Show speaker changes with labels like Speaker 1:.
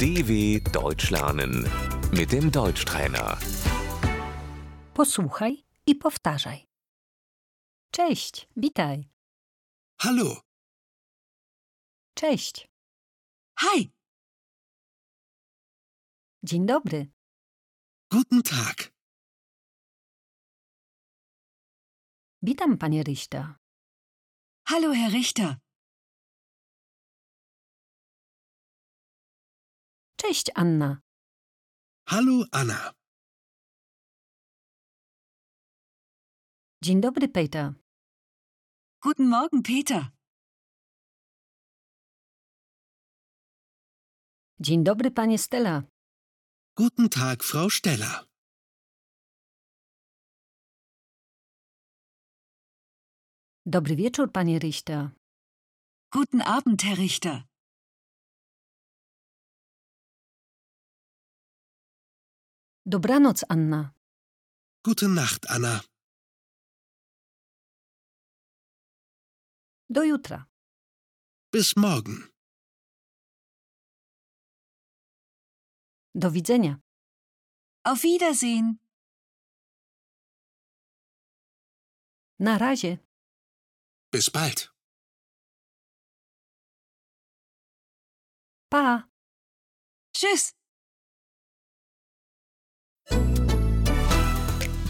Speaker 1: DW Deutsch lernen mit dem Deutschtrainer.
Speaker 2: Posłuchaj i powtarzaj. Cześć, witaj.
Speaker 3: Hallo,
Speaker 2: Cześć.
Speaker 4: Hi,
Speaker 2: Dzień dobry.
Speaker 3: guten Tag.
Speaker 2: Witam, panie Richter.
Speaker 4: hallo Herr Richter.
Speaker 2: Cześć, Anna.
Speaker 3: Hallo, Anna.
Speaker 2: Dzień dobry, Peter.
Speaker 4: Guten Morgen, Peter.
Speaker 2: Dzień dobry, panie Stella.
Speaker 3: Guten Tag, Frau Steller.
Speaker 2: Dobry wieczór, panie Richter.
Speaker 4: Guten Abend, Herr Richter.
Speaker 2: Dobranoc, Anna.
Speaker 3: Gute Nacht, Anna.
Speaker 2: Do jutra.
Speaker 3: Bis morgen.
Speaker 2: Do widzenia.
Speaker 4: Auf Wiedersehen.
Speaker 2: Na razie.
Speaker 3: Bis bald.
Speaker 2: Pa.
Speaker 4: Tschüss.